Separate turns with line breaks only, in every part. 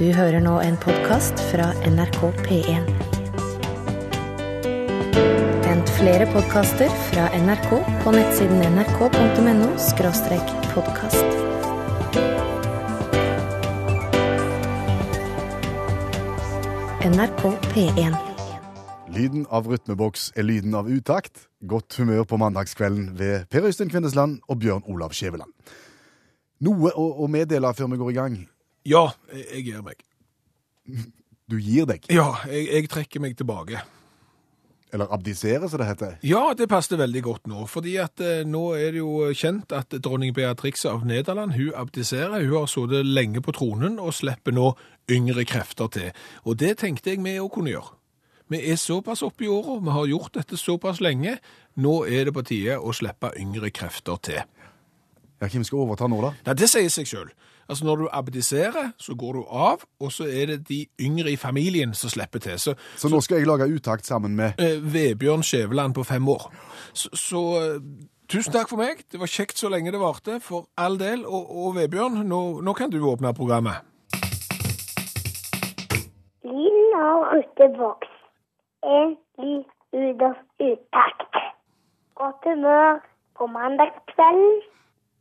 Du hører nå en podkast fra NRK P1. Vent flere podkaster fra NRK på nettsiden nrk.no – podkast. NRK P1.
Lyden av rytmeboks er lyden av utakt. Godt humør på mandagskvelden ved Per Øystein Kvindesland og Bjørn Olav Skjæveland. Noe å, å meddele før vi går i gang.
Ja, jeg gir meg.
Du gir deg.
Ja, jeg, jeg trekker meg tilbake.
Eller abdiserer, som det heter.
Ja, det passer veldig godt nå, fordi at eh, nå er det jo kjent at dronning Beatrix av Nederland, hun abdiserer, hun har sittet lenge på tronen og slipper nå yngre krefter til. Og det tenkte jeg vi òg kunne gjøre. Vi er såpass oppe i åra, vi har gjort dette såpass lenge, nå er det på tide å slippe yngre krefter til.
Ja, Hvem skal overta nå, da?
Nei, det sier seg sjøl. Altså, når du abdiserer, så går du av, og så er det de yngre i familien som slipper til. Så
Så nå skal jeg lage utakt sammen med
eh, Vebjørn Skjæveland på fem år. Så, så eh, tusen takk for meg. Det var kjekt så lenge det varte, for all del. Og, og Vebjørn, nå, nå kan du åpne programmet.
Lyden av rytteboks er lyd ut av utakt. Godt humør på mandagskvelden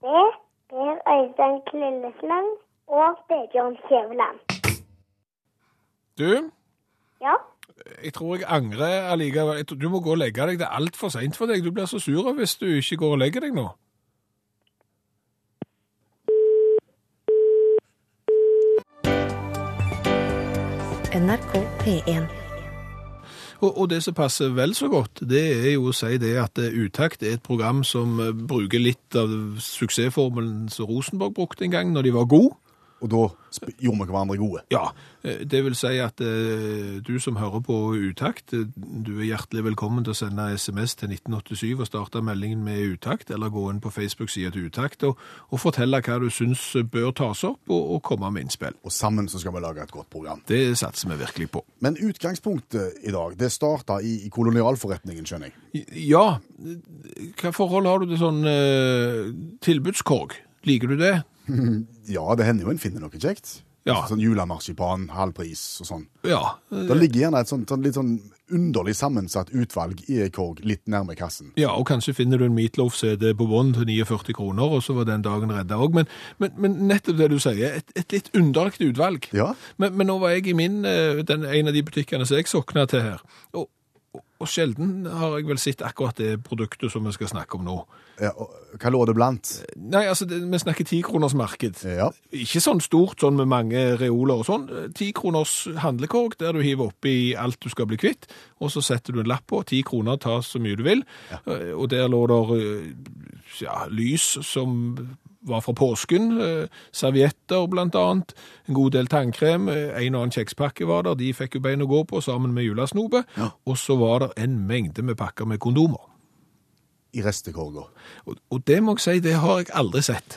ved Per Øystein Klillesland og Bjørn Kjæveland.
Du,
Ja,
jeg tror jeg angrer allikevel. Jeg tror- Du må gå og legge deg. Det er altfor seint for deg. Du blir så sur hvis du ikke går og legger deg nå.
NRK P1.
Og, og det som passer vel så godt, det er jo å si det at eh, Utakt er et program som eh, bruker litt av suksessformelen som Rosenborg brukte en gang, når de var gode.
Og da sp- gjorde vi hverandre gode.
Ja, eh, det vil si at eh, du som hører på Utakt, eh, du er hjertelig velkommen til å sende SMS til 1987 og starte meldingen med Utakt, eller gå inn på Facebook-sida til Utakt og, og fortelle hva du syns bør tas opp, og, og komme med innspill.
Og sammen så skal vi lage et godt program.
Det satser vi virkelig på.
Men utgangspunktet i dag, det starta i, i kolonialforretningen, skjønner jeg.
Ja, hva forhold har du til sånn eh, tilbudskorg? Liker du det?
Ja, det hender jo en finner noe kjekt.
Ja.
Sånn julemarsipan, halv pris og sånn.
Ja. eh,
Det ligger gjerne et sånt, sånn litt sånn underlig sammensatt utvalg i en korg litt nærme kassen.
Ja, og kanskje finner du en Meatloaf-CD på bånd til 49 kroner, og så var den dagen redda òg. Men, men, men nettopp det du sier, et, et litt underlig utvalg.
Ja.
Men, men nå var jeg i min, eh, den en av de butikkene som jeg sokna til her, og, og, og sjelden har jeg vel sett akkurat det produktet som vi skal snakke om nå.
Ja, og Hva lå det blant?
Nei, altså, det, vi snakker tikronersmarked.
Ja.
Ikke sånn stort, sånn med mange reoler og sånn. Ti kroners handlekorg, der du hiver oppi alt du skal bli kvitt, og så setter du en lapp på. Ti kroner, ta så mye du vil. Eh, Og der lå der eh, ja, lys som var fra påsken, eh, servietter blant annet, en god del tannkrem, eh, en og annen kjekspakke var der, de fikk jo bein å gå på sammen med julesnopet, og så var det en mengde med pakker med kondomer.
I restekorga.
Og, og det må jeg si, det har jeg aldri sett.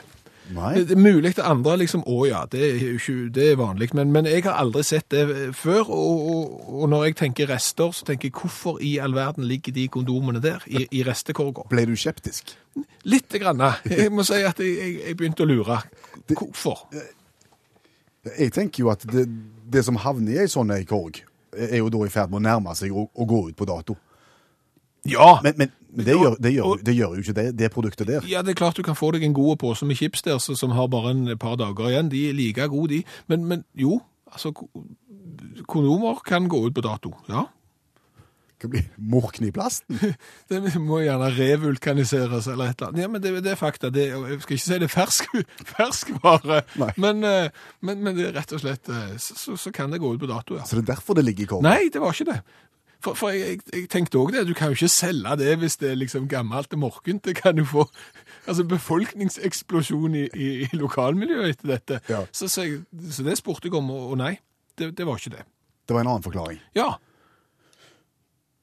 Nei?
Det, det er mulig til andre liksom, å ja, det er, jo ikke, det er vanlig, men, men jeg har aldri sett det før, og, og, og når jeg tenker rester, så tenker jeg hvorfor i all verden ligger de kondomene der, i, i restekorga?
Ble du skeptisk?
Litt grann, jeg må si at jeg, jeg, jeg begynte å lure. Hvorfor?
Jeg tenker jo at det, det som havner i ei sånn ei korg, er jo da i ferd med å nærme seg å, å gå ut på dato.
Ja,
Men, men, men det, gjør, det, gjør,
og-
det gjør jo ikke det, det produktet der.
ja, det er klart du kan få deg en god påse med chips der, så- som har bare en par dager igjen, de er like gode de, men, men jo, altså, ko- kondomer kan gå ut på dato, ja.
Det blir morken i plasten.
Det må gjerne revulkaniseres eller et eller annet. Ja, men det, det er fakta. Det, og jeg skal ikke si det er fersk, ferskvare,
Nei.
men, eh, men, men det er rett og slett eh, så, så- så kan det gå ut på dato, ja.
Så det er derfor det ligger i korga.
Nei, det var ikke det. For, for jeg, jeg, jeg tenkte òg det. Du kan jo ikke selge det hvis det er liksom gammelt og morkent. Det kan jo få altså befolkningseksplosjon i, i, i lokalmiljøet etter dette.
Ja.
Så, så, jeg, så det spurte jeg om, og, og nei, det, det var ikke det.
Det var en annen forklaring.
Ja.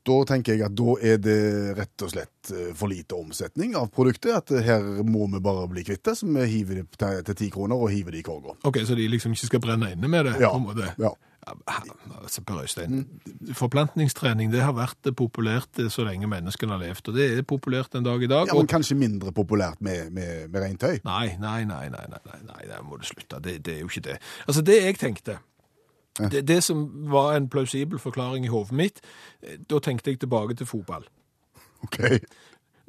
Da tenker jeg at da er det rett og slett eh, for lite omsetning av produktet. At eh, her må vi bare bli kvitt det, så vi hiver det til- til ti kroner og hiver det i korga.
OK, så de liksom ikke skal brenne inne med det?
Ja,
på en måte.
ja.
Ja, Altså, per Øystein, forplantningstrening det har vært populært eh, så lenge menneskene har levd, og det er populært en dag i dag.
Ja, men kanskje mindre populært med, med, med rent tøy.
og... Nei, nei, nei, nei, nei, nei, nei, nei, der må du slutte. Det, det er jo ikke det. Altså, det jeg tenkte, Det, det som var en plausibel forklaring i hodet mitt, eh, da tenkte jeg tilbake til fotball.
OK.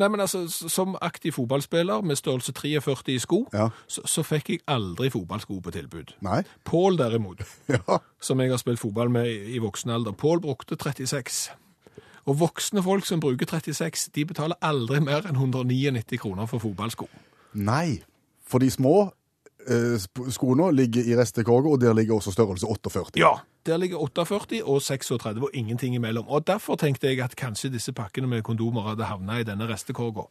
Nei, men altså, s- Som aktiv fotballspiller med størrelse 43 i sko,
Ja.
så, så fikk jeg aldri fotballsko på tilbud.
Nei?
Pål derimot,
Ja.
som jeg har spilt fotball med i i voksen alder, Pål brukte 36. Og voksne folk som bruker 36, de betaler aldri mer enn 199 kroner for fotballsko.
Nei. For de små eh, sp- skoene ligger i restekorget, og der ligger også størrelse 48.
Ja, der ligger 48 og 36 og ingenting imellom. Og derfor tenkte jeg at kanskje disse pakkene med kondomer hadde havnet i denne restekorga.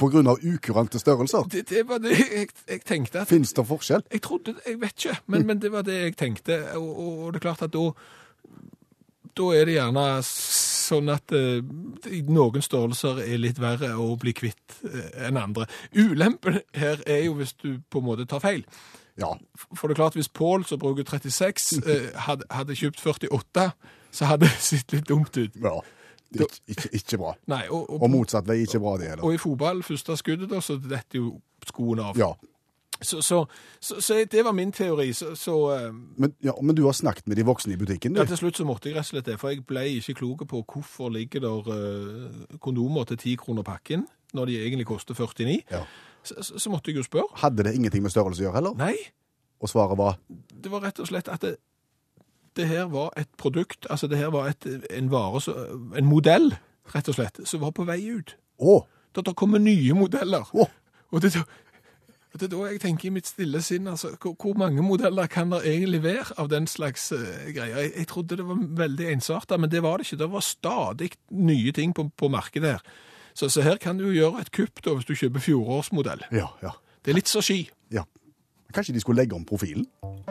På grunn av ukurante størrelser.
Det, det var det jeg, jeg tenkte. at...
Fins det forskjell?
Jeg trodde, jeg vet ikke, men, men det var det jeg tenkte. Og, og, og det er klart at da, da er det gjerne sånn at eh, i noen størrelser er litt verre å bli kvitt eh, enn andre. Ulempen her er jo hvis du på en måte tar feil.
Ja.
For det er klart, hvis Pål, som bruker 36, eh, hadde, hadde kjøpt 48, så hadde det sett litt dumt ut.
ja. Det er Ikke, ikke, ikke bra.
Nei, og, og,
Og motsatt vei ikke bra, det heller.
og i fotball, første skuddet, da, så detter jo skoene av.
Ja.
Så, så, så, så det var min teori. Så, så eh,
Men, ja, men du har snakket med de voksne i butikken,
Ja,
du?
til slutt så måtte jeg rett og slett det, for jeg ble ikke klok på hvorfor ligger der eh, kondomer til 10 kroner pakken, når de egentlig koster 49.
Ja.
Så, så- så måtte jeg jo spørre.
Hadde det ingenting med størrelse å gjøre heller?
Nei,
Og svaret var
det var rett og slett at det, det her var et produkt, altså det her var et, en vare, som- en modell, rett og slett, som var på vei ut.
å,
Da der kommer nye modeller.
å,
Og det, er da- og det er da jeg tenker i mitt stille sinn, altså, hvor, hvor mange modeller kan det egentlig være av den slags eh, greier? Jeg, jeg trodde det var veldig ensartet, men det var det ikke. Det var stadig nye ting på, på markedet her. Så, så her kan du jo gjøre et kupp da, hvis du kjøper fjorårsmodell.
ja, ja,
Det er litt så ski.
ja. Kanskje de skulle legge om profilen?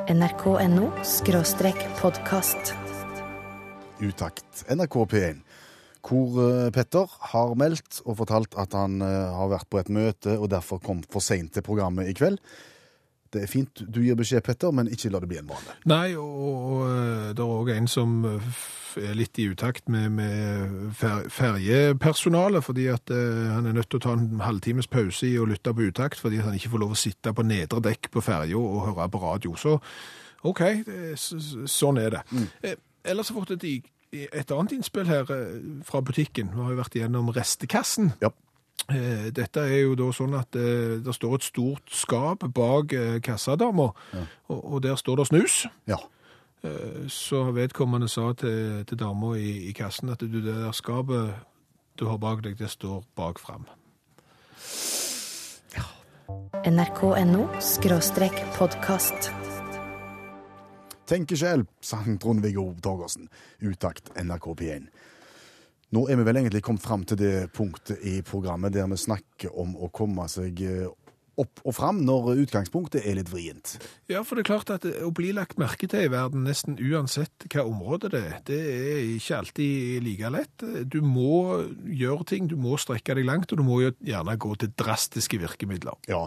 nrk.no skråstrek podkast.
Utakt. NRK P1. Hvor eh, Petter har meldt og fortalt at han eh, har vært på et møte og derfor kom for seint til programmet i kveld. Det er fint du gir beskjed, Petter, men ikke la det bli en vane.
Nei, og, og eh, det er òg en som eh, f- er litt i utakt med, med fer, ferjepersonalet, fordi at eh, han er nødt til å ta en halvtimes pause i å lytte på utakt, fordi at han ikke får lov å sitte på nedre dekk på ferja og høre på radio. Så OK, det, er s- s- sånn er det. Eh, Ellers har jeg fått et, i- et annet innspill her eh, fra butikken. Vi har jo vært igjennom restekassen.
Ja.
Eh, Dette er jo da sånn at eh, det står et stort skap bak eh, kassadama, og, og der står det snus.
Ja.
Eh, Så vedkommende sa til, til dama i, i kassen at du, det der skapet du har bak deg, det står bak fram.
nrk.no skråstrek podkast.
Tenker selv, sang Trond-Viggo Torgersen. Utakt NRK P1. Nå er vi vel egentlig kommet fram til det punktet i programmet der vi snakker om å komme seg eh, opp og fram når utgangspunktet er litt vrient.
Ja, for det er klart at eh, å bli lagt merke til i verden, nesten uansett hva område det er, det er ikke alltid like lett. Du må gjøre ting, du må strekke deg langt, og du må jo gjerne gå til drastiske virkemidler.
Ja,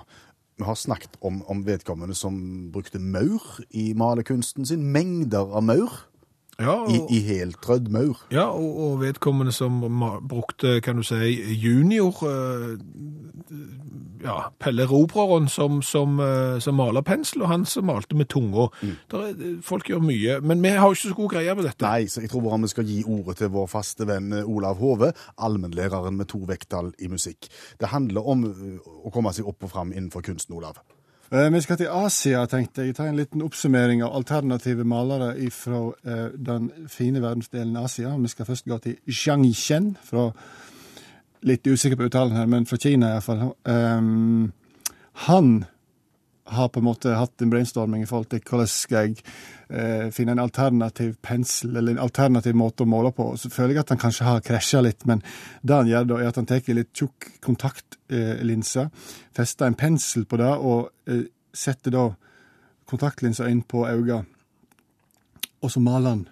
vi har snakket om, om vedkommende som brukte maur i malekunsten sin. Mengder av maur.
Ja, og,
I, i heltrødd maur.
ja, og, og vedkommende som ma- brukte, kan du si, junior, eh, ja, Pelle Robreren som, som, eh, som maler pensel, og han som malte med tunga. Der er- eh, folk gjør mye, men vi har jo ikke så god greie på dette.
Nei, så jeg tror bare vi skal gi ordet til vår faste venn eh, Olav Hove, allmennlæreren med to vekttall i musikk. Det handler om eh, å komme seg opp og fram innenfor kunsten, Olav.
Eh, Vi skal til Asia, tenkte jeg. Ta en liten oppsummering av alternative malere fra den fine verdensdelen Asia. Vi skal først gå til Zhang Chen, fra Litt usikker på uttalen her, men fra Kina iallfall. Um, han har på en måte hatt en brainstorming i forhold til hvordan skal jeg eh, finne en alternativ pensel, eller en alternativ måte å måle på. Så føler jeg at han kanskje har krasja litt, men det han gjør da, er at han tar litt tjukk kontaktlinse, eh, fester en pensel på det, og eh, setter da kontaktlinsa inn på øynene. Og så maler han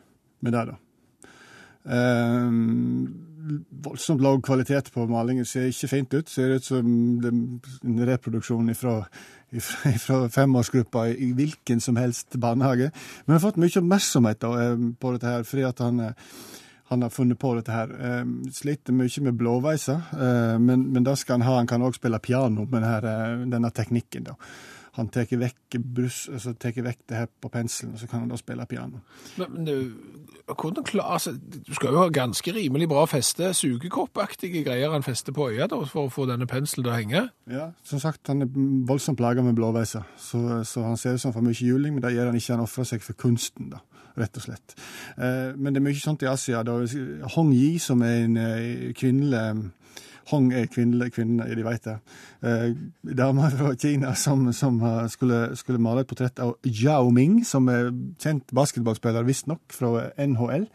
med det, da. Ehm, voldsomt lav kvalitet på malingen. Ser ikke fint ut. Ser ut som det- en reproduksjon fra femårsgruppa i i hvilken som helst barnehage. Men han har fått mye oppmerksomhet da, ehm, på dette her, fordi at han, eh, han har funnet på dette her. Ehm, Sliter mye med blåveiser, eh, men, men det skal han ha. Han kan òg spille piano med denne, denne eh, teknikken. da. han tar vekk, brus- altså, tar vekk det her på penselen, og så kan han da spille piano.
Men, men du, hvordan klar, altså, du skal jo ha ganske rimelig bra feste, sugekoppaktige greier han fester på øya da, for å få denne penselen til å henge.
Ja, Som sagt, han er voldsomt plaga med blåveiser, så, så han ser ut som han får mye juling, men det gjør han ikke. Han ofrer seg for kunsten, da, rett og slett. Eh, men det er mye sånt i Asia. da. Hong Yi, som er en eh, kvinnelig Hong er kvinnelig kvinne, de vet det. Eh, Dama fra Kina som, som eh, skulle, skulle male et portrett av Yao Ming, som er kjent basketballspiller, visstnok, fra NHL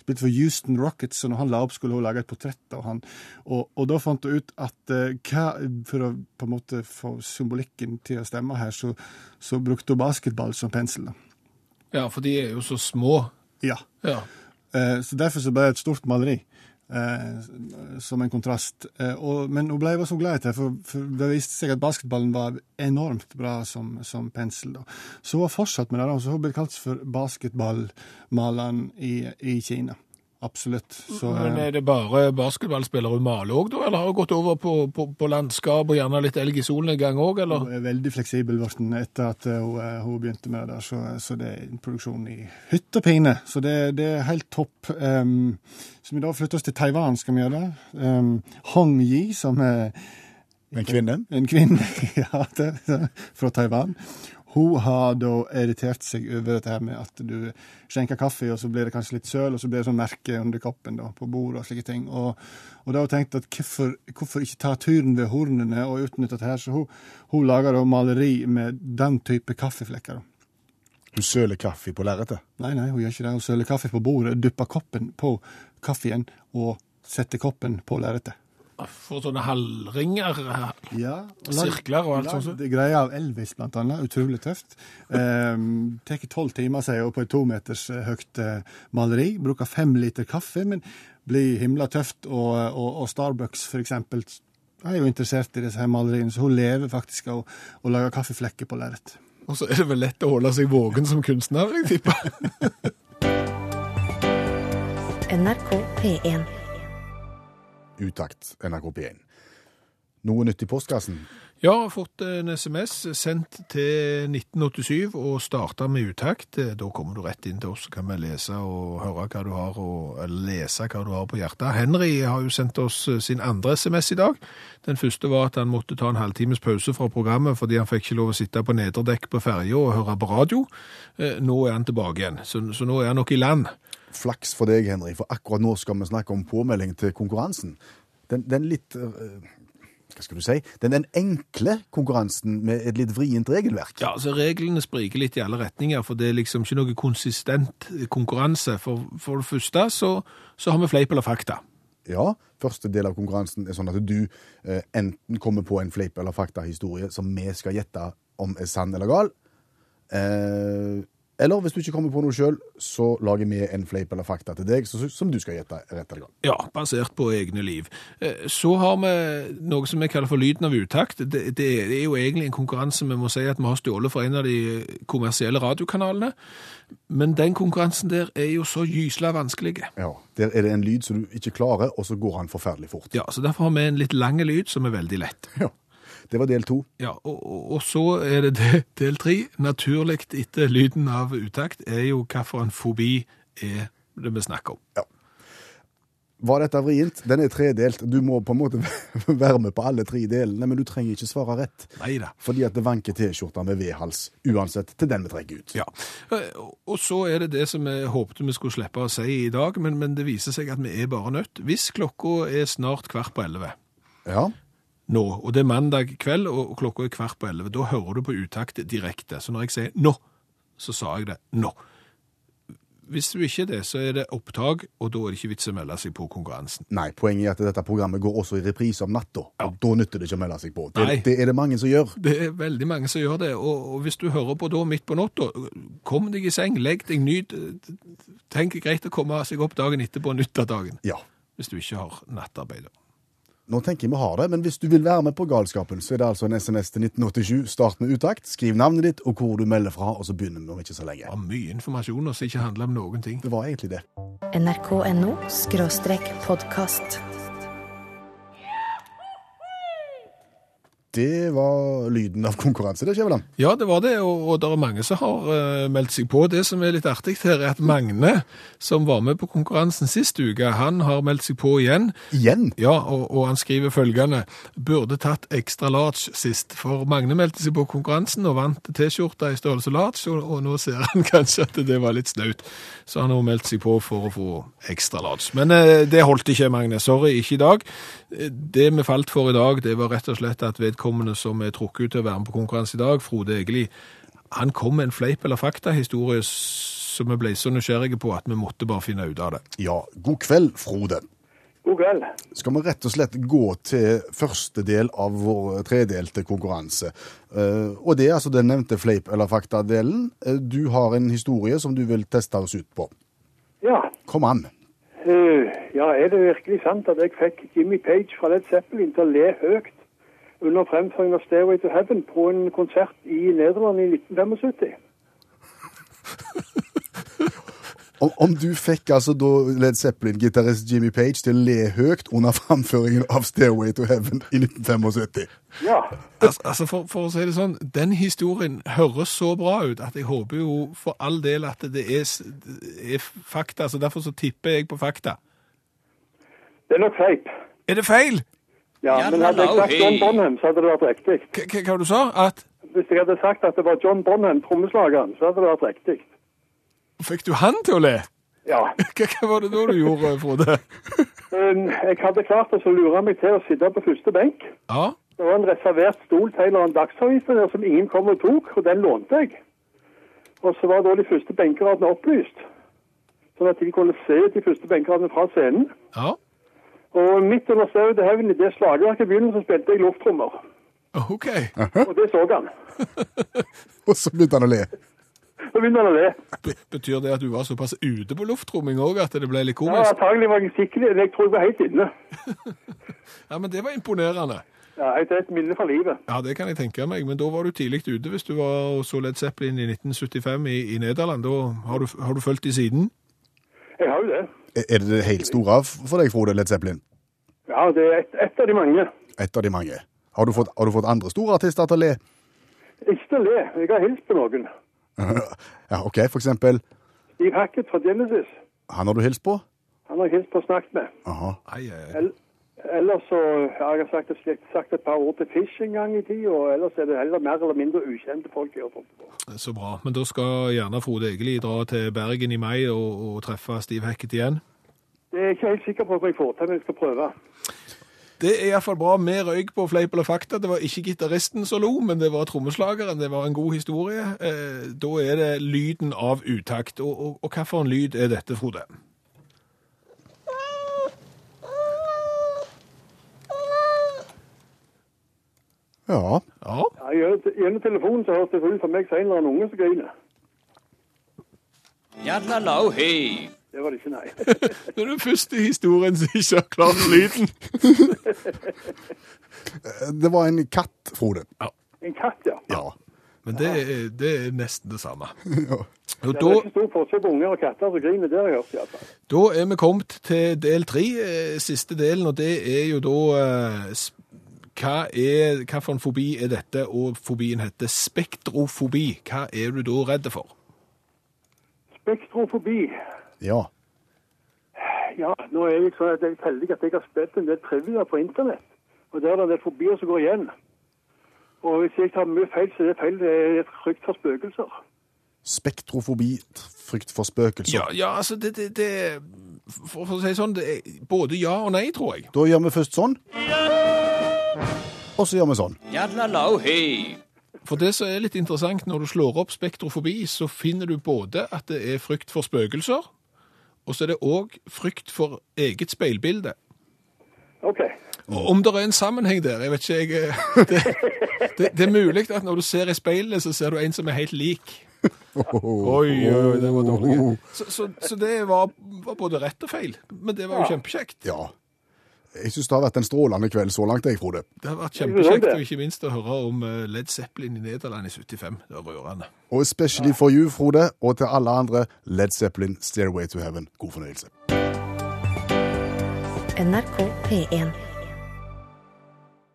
spilte for Houston Rockets, og når han la opp, skulle hun lage et portrett av han. Og, og da fant hun ut at eh, hva, for å på en måte få symbolikken til å stemme her, så, så brukte hun basketball som pensel. da.
Ja, for de er jo så små.
Ja.
Ja.
Eh, Så derfor så ble det et stort maleri. eh, Som en kontrast. Eh, Og, men hun ble jo så glad i det, for, for det viste seg at basketballen var enormt bra som, som pensel. Da. Så hun har fortsatt med det, da, så hun ble kalt for basketballmaleren i, i Kina. Absolutt. Så, eh,
Men er det bare basketballspillere hun maler òg, da? Eller har hun gått over på, på, på landskap og gjerne litt elg i solen en gang òg, eller?
Hun er veldig fleksibel blitt etter at eh, hun, eh, hun begynte med det. der, Så, så det er en produksjon i hytt og pine. Så det, det er helt topp. Um, så vi da flytter oss til Taiwan, skal vi gjøre det. Um, Hong Yi, som er
En kvinne?
en kvinne ja, det, det, fra Taiwan. Hun har da irritert seg over dette her med at du skjenker kaffe, og så blir det kanskje litt søl, og så blir det sånn merke under koppen da, på bordet og slike ting. Og, og da har hun tenkt at hvorfor, hvorfor ikke ta turen ved hornene og utnytte dette her? Så hun, hun lager da maleri med den type kaffeflekker. da.
Hun søler kaffe på lerretet.
Nei, nei, hun gjør ikke det. Hun søler kaffe på bordet, dupper koppen på kaffen og setter koppen på lerretet.
For sånne halvringer
Ja, og
Sirkler og alt
lagd
sånt.
Greier av Elvis, blant annet. Utrolig tøft. Um, Tar tolv timer, sier hun, på et to meters eh, høyt eh, maleri. Bruker fem liter kaffe, men blir himla tøft. Og, og, og Starbucks, for eksempel, er jo interessert i disse her maleriene, så hun lever faktisk av å, å lage kaffeflekker på lerret.
Og så er det vel lett å holde seg våken som kunstner, jeg tipper.
NRK P1.
Utakt NRK P1. Noe nytt i postkassen?
Ja, jeg har fått en SMS sendt til 1987 og starta med utakt. Da kommer du rett inn til oss, så kan vi lese og høre hva du har, og, eller lese hva du har på hjertet. Henry har jo sendt oss sin andre SMS i dag. Den første var at han måtte ta en halvtimes pause fra programmet fordi han fikk ikke lov å sitte på nederdekk på ferja og høre på radio. Eh, Nå er han tilbake igjen, så, så nå er han nok i land.
Flaks for deg, Henry, for akkurat nå skal vi snakke om påmelding til konkurransen. Den, den litt eh, Hva skal du si? Den, den enkle konkurransen med et litt vrient regelverk.
Ja, altså reglene spriker litt i alle retninger, for det er liksom ikke noe konsistent konkurranse. For, for det første så, så har vi fleip eller fakta.
Ja, første del av konkurransen er sånn at du eh, enten kommer på en fleip- eller faktahistorie som vi skal gjette om er sann eller gal. Eh, eller hvis du ikke kommer på noe sjøl, så lager vi en fleip eller fakta til deg så, som du skal gjette rett eller gal.
Ja, basert på egne liv. Eh, Så har vi noe som vi kaller for lyden av utakt. Det, det er jo egentlig en konkurranse vi må si at vi har stjålet fra en av de kommersielle radiokanalene. Men den konkurransen der er jo så gysla vanskelig.
Ja, Der er det en lyd som du ikke klarer, og så går han forferdelig fort.
Ja, så derfor har vi en litt lang lyd som er veldig lett.
Ja. Det var del to.
Ja, og, og- og så er det de- del tre. Naturlig etter lyden av utakt er jo hvilken fobi er det vi snakker om.
Var dette vrient? Den er tredelt. Du må på en måte være med på alle tre delene, men du trenger ikke svare rett.
Nei da.
Fordi at det vanker T-skjorter med V-hals uansett til den vi trekker ut.
Ja. Eh, Og så er det det som jeg håpte vi skulle slippe å si i dag, men, men det viser seg at vi er bare nødt. Hvis klokka er snart kvart på elleve
Ja.
nå, og det er mandag kveld, og klokka er kvart på elleve, da hører du på utakt direkte. Så når jeg sier nå, så sa jeg det nå. Hvis du ikke er det, så er det opptak, og da er det ikke vits å melde seg på konkurransen.
Nei, poenget er at dette programmet går også i reprise om natta. og Da nytter det ikke å melde seg på. Det,
Nei.
det er det mange som gjør.
Det er veldig mange som gjør det, og, og hvis du hører på da midt på natta, kom deg i seng, legg deg, nyt. Tenk greit å komme seg opp dagen etterpå, nytt av dagen,
Ja.
hvis du ikke har nattarbeid. da.
Nå tenker jeg vi har det, men hvis du vil være med på galskapen, så er det altså en SMS til 1987. Start med utakt, skriv navnet ditt og hvor du melder fra, og så begynner vi om ikke så
Det
lenge.
var mye informasjon og som ikke handler om noen ting.
Det var egentlig det.
NRK.no skråstrek podkast.
Det var lyden av konkurranse, det, Skjæveland.
Ja, det var det, og, og det er mange som har eh, meldt seg på. Det som er litt artig her, er at Magne, som var med på konkurransen sist uke, han har meldt seg på igjen.
Igjen.
Ja, og, og han skriver følgende Burde tatt ekstra large sist For Magne meldte seg på konkurransen Og vant t-skjorta i størrelse large og, og nå ser han kanskje at det var litt snaut Så han har meldt seg på for å få ekstra large Men eh, det holdt ikke Magne, sorry, ikke i dag Eh, Det vi falt for i dag Det var rett og slett at vedkommende som er trukket ut Til å være med på konkurranse i dag, Frode Egeli Han kom med en fleip eller fakta-historie Som vi ble så nysgjerrige på At vi måtte bare finne ut av det
Ja, god kveld, Frode.
God kveld.
Skal vi rett og slett gå til første del av vår tredelte konkurranse. Eh, og det er altså den nevnte fleip- eller fakta-delen. Eh, du har en historie som du vil teste oss ut på.
Ja.
Kom an.
eh, ja, er det virkelig sant at jeg fikk Jimmy Page fra Led Zeppelin til å le høyt under fremføringen av Stairway to Heaven på en konsert i Nederland i 1975?
Om, om du fikk altså da Led Zeppelin-gitarist Jimmy Page til å le høyt under framføringen av Stairway to Heaven i 1975.
Ja.
Altså, altså for, for å si det sånn, den historien høres så bra ut at jeg håper jo for all del at det er, s- er fakta, så derfor så tipper jeg på fakta.
Det er nok feip.
Er det feil?
Ja, men hadde jeg sagt John Bonham, så hadde det vært riktig.
Hva- Hva hva du sa? At
Hvis jeg hadde sagt at det var John Bonham, trommeslageren, så hadde det vært riktig.
fikk du han til å le?
Ja.
Hva, hva var det da du gjorde, Frode?
Um, Jeg hadde klart å så lure meg til å sitte på første benk.
Ja,
Det var en reservert stol til en eller annen dagsavis der som ingen kom og tok, og den lånte jeg. Og så var da de første benkeradene opplyst, sånn at de kunne se de første benkeradene fra scenen.
ja,
Og midt under stauet til haugen i det slagverket i begynnelsen så spilte jeg lufttrommer.
ok.
Og det så han.
Og så begynte han å le.
Så begynte han å le.
Be- Betyr det at du var såpass ute på luftromming også, at det ble litt
Ja,
komisk?
antagelig var jeg sikkert, jeg tror jeg var helt inne.
Ja, men det var imponerende.
Ja, jeg- Det er et minne fra livet.
Ja, det kan jeg tenke meg, men da var du tidlig ute hvis du var og så Led Zeppelin i 1975 i, i Nederland. Da har du, har du følt de siden?
Jeg har jo det.
Er- Er det det helt store for deg, Frode Led Zeppelin?
Ja, det er et, et av de mange.
Et av de mange. Har du fått, har du fått andre store artister til å le?
Ikke til å le. Jeg har hilst på noen.
Ja, OK, for eksempel.
Steve Hackett fra Genesis.
Han har du hilst på?
Han har jeg hilst på og snakket med.
Aha.
Ai, ai, ai.
El- Ellers så har jeg sagt, et- sagt et par ord til Fish en gang i tida, og ellers er det heller mer eller mindre ukjente folk jeg har fått på.
Så bra. Men da skal gjerne Frode Egeli dra til Bergen i mai og, og treffe Steve Hackett igjen.
Det er jeg ikke helt sikker på om jeg får til, men jeg skal prøve.
Det er iallfall bra med røyk på fleip eller fakta. Det var ikke gitaristen som lo, men det var trommeslageren. Det var en god historie. Eh, da er det lyden av utakt. Og, og, og hvilken lyd er dette, Frode?
Ja.
Ja,
Ja, gjennom- Gjennom telefonen så høres det ut for meg som en eller annen unge som griner.
Yadlalau hei.
Det var det ikke, nei.
det er den første historien som ikke har klart lyden.
Eh, Det var en katt, Frode.
En katt, ja.
Ja.
Men det, er- det er nesten det samme.
Ja.
Og
Det
da,
er ikke stor forskjell på unger og katter som griner, det har jeg hørt i hvert fall.
da er vi kommet til del tre, eh, siste delen, og det er jo da eh, sp- hva, er, hva for en fobi er dette, og fobien heter spektrofobi. Hva er du da redd for?
Spektrofobi.
ja.
Ja, nå er jeg sånn at jeg er heldig at jeg har spilt en del trivia på internett. Og der er det en del fobier som går igjen. Og hvis jeg tar mye feil, så er det feil. Det er et frykt for spøkelser.
Spektrofobi, tr- frykt for spøkelser.
Ja, ja altså, det, det, det For for å si det sånn, det er både ja og nei, tror jeg.
Da gjør vi først sånn. Og så gjør vi sånn.
Yadlalau hei.
For det som er litt interessant, når du slår opp spektrofobi, så finner du både at det er frykt for spøkelser, og så er det òg frykt for eget speilbilde.
OK.
Og Om det er en sammenheng der, jeg vet ikke jeg, eh, det, det, det er mulig at når du ser i speilet, så ser du en som er helt lik. Oi, oi, oi, den var dårlig. Så, så, så det var, var både rett og feil, men det var jo kjempekjekt.
Ja. Jeg syns det har vært en strålende kveld så langt, jeg, Frode.
Det har vært
Jeg vil også
kjempekjekt,
det.
og ikke minst å høre om eh, Led Zeppelin i Nederland i 75. Det var rørende.
Og especially for you, Frode, og til alle andre, Led Zeppelin, Stairway to Heaven. God fornøyelse.
NRK P1.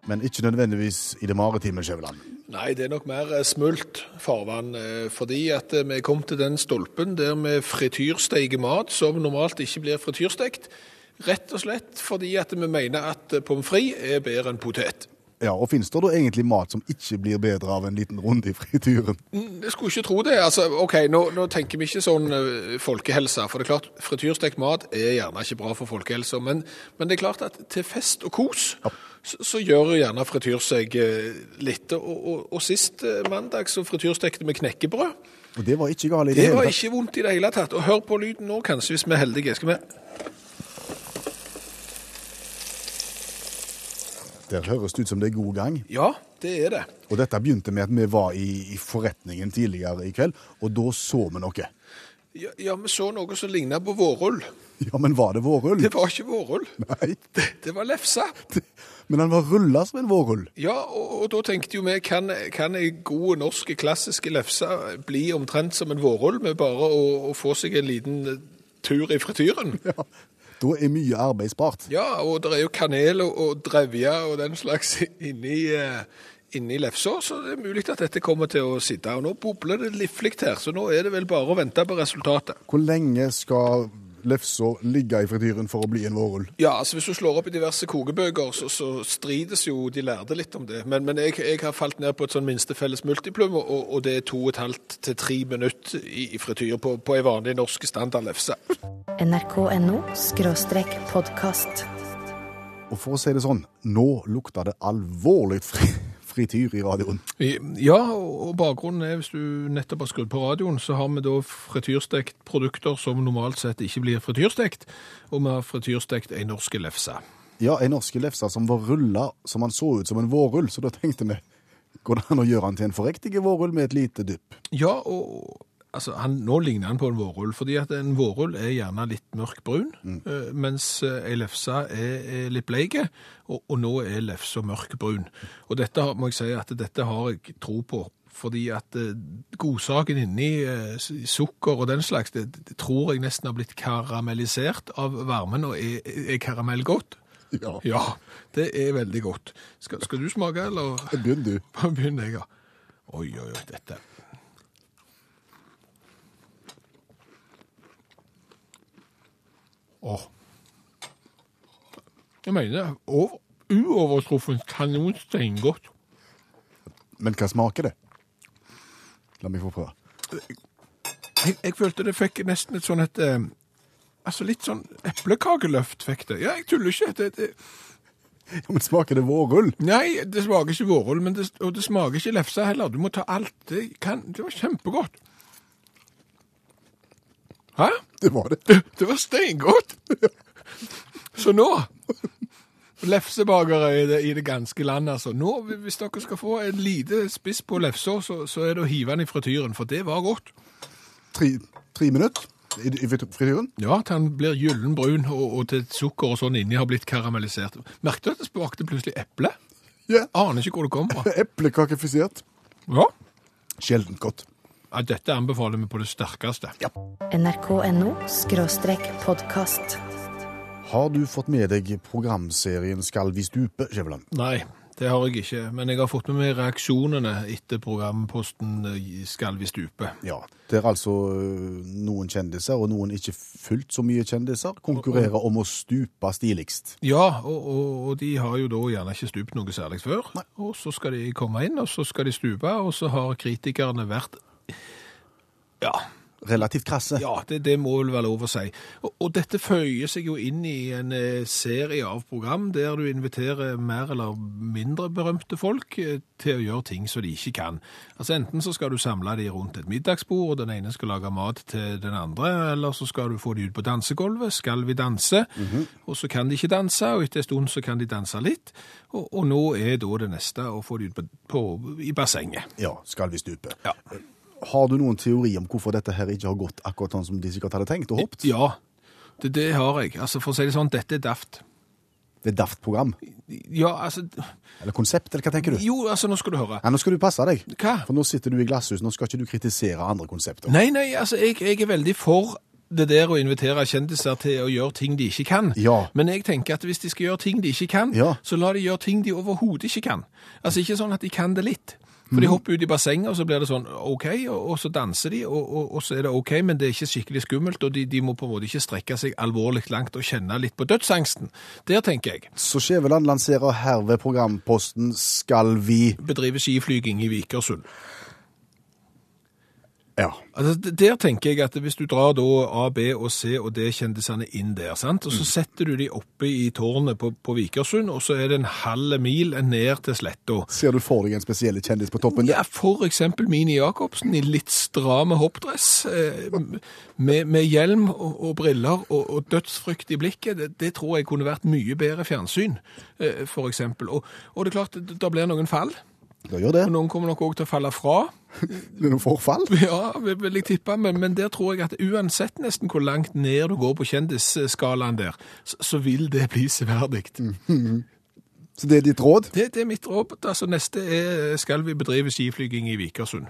Men ikke nødvendigvis i det maritime, Skjæveland.
Nei, det er nok mer eh, smult farvann. eh, Fordi at eh, vi kom til den stolpen der vi frityrsteiker mat som normalt ikke blir frityrstekt. Rett og slett fordi at vi mener at eh, pommes frites er bedre enn potet.
Ja, og finnes det da egentlig mat som ikke blir bedre av en liten runde i frityren?
Mm, Jeg skulle ikke tro det. altså, ok, Nå, nå tenker vi ikke sånn eh, folkehelse. For det er klart, frityrstekt mat er gjerne ikke bra for folkehelsa. Men, men det er klart at til fest og kos så, så gjør gjerne frityr seg eh, litt. Og, og, og sist eh, mandag så frityrstekte vi knekkebrød.
Og det var ikke galt i det,
Det var
hele tatt.
ikke vondt i det hele tatt. Og hør på lyden nå, kanskje, hvis vi er heldige. Skal vi
Der høres det ut som det er god gang.
Ja, det er det.
Og dette begynte med at vi var i, i forretningen tidligere i kveld, og da så vi noe.
Ja, ja vi så noe som lignet på vårrull.
Ja, men var det vårrull?
Det var ikke vårrull.
Nei.
Det var lefse.
Men han var rulla som en vårrull.
Ja, og, og da tenkte jo vi, kan, kan ei god norsk klassisk lefse bli omtrent som en vårrull med bare å, å få seg en liten tur i frityren?
Ja. Da er mye arbeid spart.
Ja, og det er jo kanel og, og drevje og den slags inni, eh, inni lefsa, så det er mulig at dette kommer til å sitte. Og nå bobler det livlig her, så nå er det vel bare å vente på resultatet.
Hvor lenge skal lefsa ligge i frityren for å bli en vårrull?
Ja, altså hvis du slår opp i diverse kokebøker, så, så strides jo de lærde litt om det. Men, men jeg, jeg har falt ned på et sånn minste felles multiplum, og, og det er to og et halvt til tre minutter i, i frityr på, på ei vanlig norsk standard lefse.
nrk.no skråstrek podkast.
Og for å si det sånn, nå lukter det alvorlig fri frityr i radioen.
Ja, og bakgrunnen er, hvis du nettopp har skrudd på radioen, så har vi da frityrstekt produkter som normalt sett ikke blir frityrstekt, og vi har frityrstekt ei norsk lefse.
Ja, ei norske lefse som var rulla som han så ut som en vårrull, så da tenkte vi Går det an å gjøre han til en forriktig vårrull med et lite dypp?
Ja, og altså, han, nå ligner han på en vårrull, fordi at en vårrull er gjerne litt mørkbrun, eh, mens eh, ei lefse er, er litt bleike, og, og nå er lefsa mørkbrun. Og dette har- må jeg si at dette har jeg tro på, fordi at eh, godsaken inni eh, s- sukker og den slags, det, det tror jeg nesten har blitt karamellisert av varmen, og er, er karamell godt?
Ja.
Ja, det er veldig godt. Skal, skal du smake, eller?
Begynn du.
Hva begynner jeg, da? Oi, oi, oi, dette. Åh. Jeg mener, det er over, uovertruffent kanon steingodt.
Men hva smaker det? La meg få prøve.
Jeg, jeg følte det fikk nesten et sånn et eh, Altså litt sånn eplekakeløft fikk det. Ja, jeg tuller ikke. Det, det,
Ja, men smaker det vårrull?
nei, det smaker ikke vårrull, men det, og det smaker ikke lefse heller. Du må ta alt. Det, kan, det var kjempegodt. Hæ?
Det var det.
Det var steingodt! Så nå Lefsebakere i det, i det ganske land, altså. Nå, Hvis dere skal få en lite spiss på lefsa, så, så er det å hive den i frityren, for det var godt.
Tre, tre minutter i, i frityren?
Ja, til den blir gyllen brun, og, og til sukker og sånn inni har blitt karamellisert. Merket du at det smakte plutselig eple?
Ja.
Aner ikke hvor det kom fra.
Eplekakefisert.
Ja.
Sjeldent godt.
ja, Dette anbefaler vi på det sterkeste.
nrk.no skråstrek podkast.
Har du fått med deg programserien Skal vi stupe, Skjæveland?
Nei, det har jeg ikke. Men jeg har fått med meg reaksjonene etter programposten eh, Skal vi stupe?
Ja. Der altså øh, noen kjendiser, og noen ikke fullt så mye kjendiser, konkurrerer om å stupe stiligst.
Ja, og, og, og de har jo da gjerne ikke stupt noe særlig før. Og så skal de komme inn, og så skal de stupe, og så har kritikerne vært Ja,
Relativt krasse.
ja det, det må vel være lov å si. Og, og dette føyer seg jo inn i en eh, serie av program der du inviterer mer eller mindre berømte folk eh, til å gjøre ting som de ikke kan. Altså Enten så skal du samle de rundt et middagsbord, og den ene skal lage mat til den andre, eller så skal du få de ut på dansegulvet. Skal vi danse? Og så kan de ikke danse, og etter en stund så kan de danse litt. Og, og nå er da det neste å få de ut på, på, i bassenget.
Ja, Skal vi stupe.
Ja.
Har du noen teori om hvorfor dette her ikke har gått akkurat sånn som de sikkert hadde tenkt og håpet?
Ja, det, det har jeg. Altså For å si det sånn, dette er daft.
Det er daft program?
Ja, altså
Eller konsept, eller hva tenker du?
Jo, altså, nå skal du høre.
Ja, nå skal du passe deg.
Hva?
For nå sitter du i glasshus, nå skal ikke du kritisere andre konsepter.
Nei, nei, altså, jeg, jeg er veldig for det der å invitere kjendiser til å gjøre ting de ikke kan.
Ja.
Men jeg tenker at hvis de skal gjøre ting de ikke kan,
Ja.
så la de gjøre ting de overhodet ikke kan. Altså ikke sånn at de kan det litt. For
Mhm.
de hopper ut i bassenget, og så blir det sånn OK, og, og så danser de, og, og, og så er det OK, men det er ikke skikkelig skummelt, og de, de må på en måte ikke strekke seg alvorlig langt og kjenne litt på dødsangsten. Der tenker jeg.
Så Skjæveland lanserer herved programposten Skal vi
Bedrive skiflyging i Vikersund.
Ja.
Altså, d- der tenker jeg at hvis du drar da A, B og C og D-kjendisene inn der, sant? og så setter du de oppe i tårnet på, på Vikersund, og så er det en halv mil ned til sletta.
Ser du for deg en spesiell kjendis på toppen?
Ja, for eksempel Mini Jacobsen i litt stramme hoppdress, eh, m- med, med hjelm og, og briller og, og dødsfrykt i blikket. Det, det tror jeg kunne vært mye bedre fjernsyn, eh, for eksempel. Og, og det er klart, da blir noen fall,
Da gjør det.
og noen kommer nok også til å falle fra.
Det er noe forfall.
Ja, vil, vil jeg tippe, men, men der tror jeg at uansett nesten hvor langt ned du går på kjendisskalaen der, så, så vil det bli severdig.
Så det er ditt råd?
Det, det er mitt råd. Altså, neste er skal vi bedrive skiflyging i Vikersund.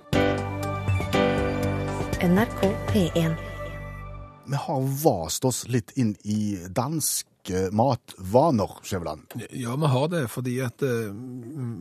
NRK P1.
Vi har vast oss litt inn i danske matvaner, Skjæveland.
Ja, vi har det, fordi at eh,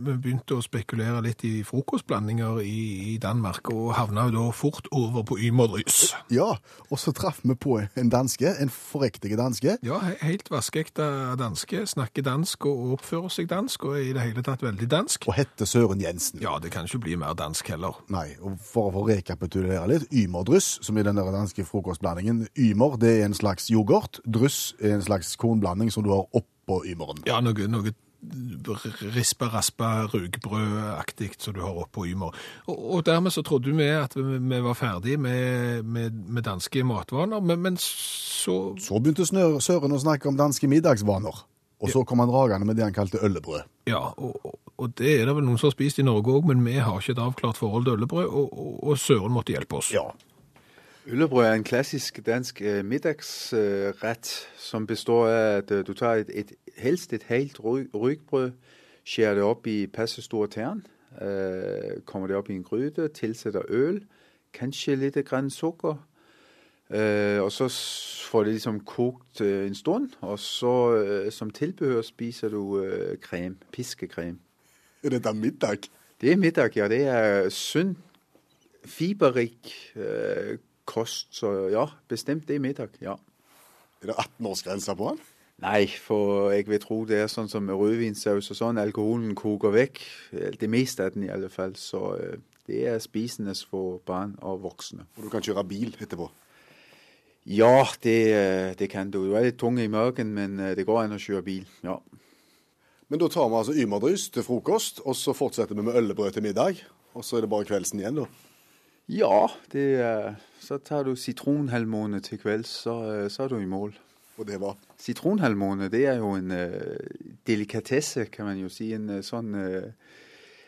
vi begynte å spekulere litt i frokostblandinger i, i Danmark, og havna jo da fort over på Ymerdrys.
Ja, og så traff vi på en danske, en forriktig danske.
Ja, he- helt vaskeekte danske. Snakker dansk og oppfører seg dansk, og er i det hele tatt veldig dansk.
Og hette Søren Jensen.
Ja, det kan ikke bli mer dansk heller.
Nei, og for å rekapitulere litt, ymerdryss, som i den der danske frokostblandingen. Ymer, det er en slags yoghurt. Dryss er en slags kornblanding som du har oppå ymeren.
Ja, noe, noe rispa-raspa rugbrød-aktig som du har oppå Ymer. Og, og dermed så trodde vi at vi, vi var ferdig med, med, med danske matvaner, men, men så
Så begynte Snø- Søren å snakke om danske middagsvaner. Og så kom han dragende med det han kalte øllebrød.
Ja, og, og- og det er det vel noen som har spist i Norge òg, men vi har ikke et avklart forhold til øllebrød, og, og, og Søren måtte hjelpe oss.
Ja.
Øllebrød er en klassisk dansk øh, middagsret, øh, som består af, at øh, du tager et, et helst et halvt ryg, rygbrød, skærer det op i passe store tern, øh, kommer det op i en gryde, tilsætter øl, kanskje lidt af græn sukker, øh, og så s- får det ligesom kogt øh, en stund, og så øh, som tilbehør spiser du øh, creme, piskecreme.
Er dette middag?
Det er middag, ja. Det er sunn, fiberrik eh, kost. Så ja, bestemt det er middag, ja.
Er det 18-årsgrense på den?
Nei, for jeg vil tro det er sånn som med rødvinsaus og sånn. Alkoholen koker vekk. eh, Det meste av den i alle fall. Så eh, det er spisende for barn og voksne.
Og du kan kjøre bil etterpå.
Ja, det, eh, det kan du. Du er litt tung i magen, men eh, det går an å kjøre bil. ja.
Men da tar vi altså ymerdryss til frokost, og så fortsetter vi med øllebrød til middag. Og så er det bare kveldsen igjen, da.
Ja, det er Så tar du sitronhalvmåne til kvelds, så, eh, så er du i mål.
Og det var
Sitronhalvmåne, det er jo en øh, delikatesse, kan man jo sige. En øh, sådan øh,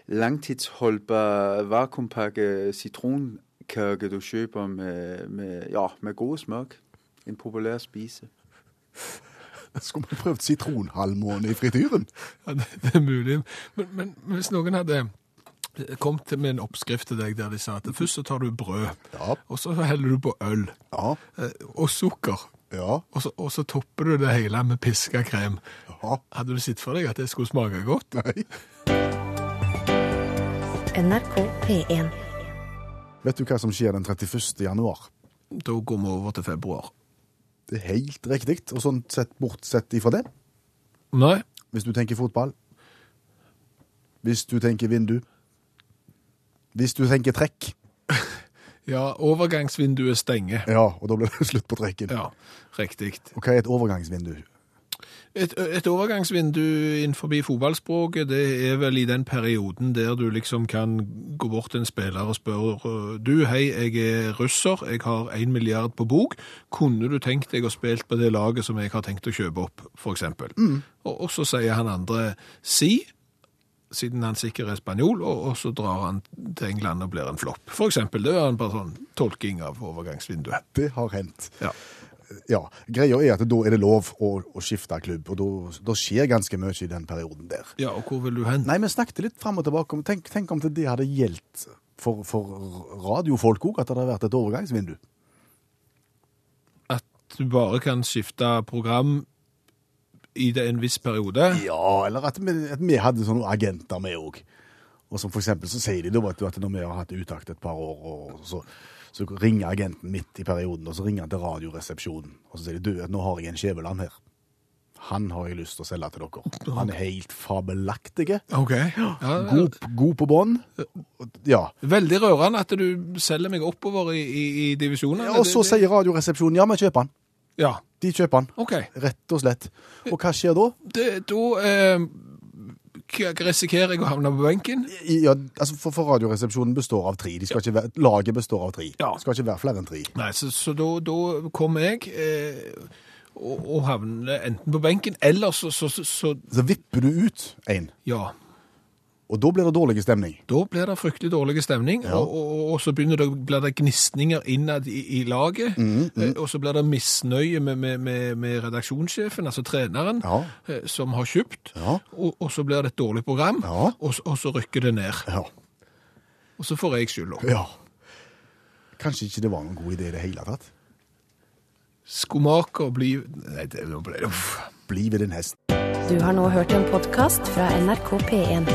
langtidsholdbar vakuumpakke citronkørke, du køber med, med, ja, med gode smørk. En populær spise.
Skulle vi prøvd sitronhalvmåne i frityren?
Ja, det, det er mulig. Men, men hvis noen hadde kommet til med en oppskrift til deg der de sa at først så tar du brød,
Ja.
og så heller du på øl
Ja.
eh, og sukker,
Ja.
og så, og så topper du det hele med piska krem.
ja.
Hadde du sett for deg at det skulle smake godt?
Nei.
NRK P1.
Vet du hva som skjer den 31. januar?
Da går vi over til februar.
Det er helt riktig, og sånn sett bortsett ifra det.
Nei,
Hvis du tenker fotball. Hvis du tenker vindu. Hvis du tenker trekk.
ja, overgangsvinduet stenger.
Ja, og da blir det slutt på trekken.
Ja, riktig.
Og hva er et overgangsvindu?
Et, et overgangsvindu innenfor fotballspråket, det er vel i den perioden der du liksom kan gå bort til en spiller og spørre eh, du, hei, jeg er russer, jeg har en milliard på bok, kunne du tenkt deg å spille på det laget som jeg har tenkt å kjøpe opp, for eksempel? Og, og så sier han andre si, siden han sikkert er spanjol, og, og så drar han til England og blir en flopp, for eksempel. Det er en bare sånn tolking av overgangsvinduet.
Det har hendt.
Ja.
Ja, Greia er at da er det lov å, å skifte klubb, og da, da skjer ganske mye i den perioden der.
Ja, og hvor vil du hen?
Nei, vi snakket litt fram og tilbake om Tenk, tenk om det hadde gjeldt for, for radiofolk òg, at det hadde vært et overgangsvindu.
du bare kan skifte program i det en viss periode.
Ja, eller at vi, at vi hadde sånne agenter med òg. Og som for eksempel så sier de da vet du, at når vi har hatt utakt et par år, og så, så ringer agenten midt i perioden, og så ringer han til Radioresepsjonen, og så sier de du, at nå har jeg en Skjæveland her. Han har jeg lyst til å selge til dere. Han er helt fabelaktig.
Ok. Ja,
God, god på bånn. Ja.
veldig rørende at du selger meg oppover i, i, i divisjonen.
Og så sier Radioresepsjonen ja, vi kjøper han.
Ja,
De kjøper han.
ok.
Rett og slett. Og hva skjer da?
Det, da eh, k- risikerer jeg å havne på benken.
Ja, altså for, for Radioresepsjonen består av tre. De skal ikke være, laget består av tre.
Ja.
Det skal ikke være flere enn tre.
Nei, så, så da, da kom jeg eh, og, og havner enten på benken, eller så, så, så, så
Så vipper du ut en,
Ja.
og da blir det dårlig stemning.
Da blir det fryktelig dårlig stemning, og, og, og- og så begynner det, blir det gnisninger innad i, i laget.
Mm,
eh, Og så blir det misnøye med, med, med, med redaksjonssjefen, altså treneren,
Ja.
eh, som har kjøpt.
Ja.
Og, og så blir det et dårlig program,
Ja.
og, så- og så rykker det ned.
Ja.
Og så får jeg skylda.
Kanskje ikke det var noen god idé i det hele tatt.
Skomaker blir Nei, det, nå ble det uff.
Bli ved din hest.
Du har nå hørt en podkast fra NRK P1.